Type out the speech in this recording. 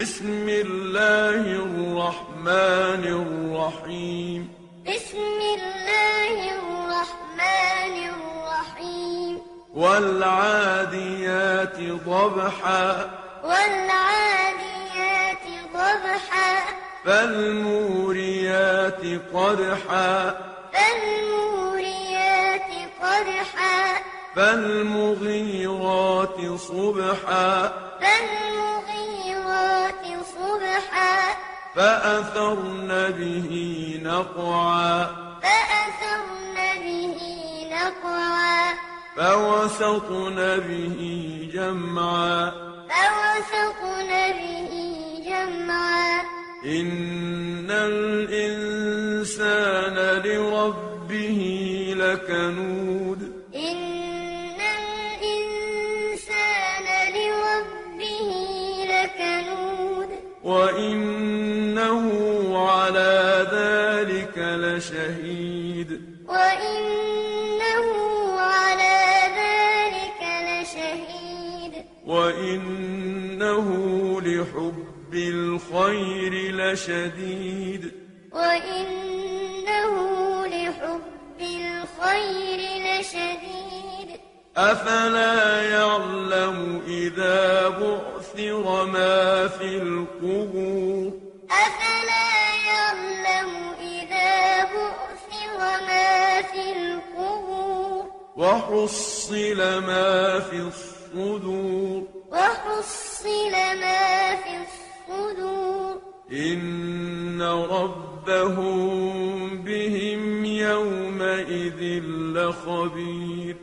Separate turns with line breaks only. بسم الله الرحمن الرحيم
بسم الله الرحمن الرحيم
والعاديات ضبحا
والعاديات ضبحا
فالموريات قدحا
فالموريات قدحا
فالمغيرات صبحا
فالمغيرات صبحا
فأثرن به نقعا
فأثرن به نقعا
فوسطن به جمعا
فوسطن به جمعا
إن الإنسان لربه لكنود
إن الإنسان لربه لكنود
وإنه على ذلك لشهيد
وإنه على ذلك لشهيد
وإنه لحب الخير لشديد
وإنه لحب الخير لشديد
أفلا يعلم إذا بعثر ما في القبور
أفلا يعلم إذا بعثر ما في القبور
وحصل ما في الصدور
وحصل ما في الصدور
إن ربهم بهم يومئذ لخبير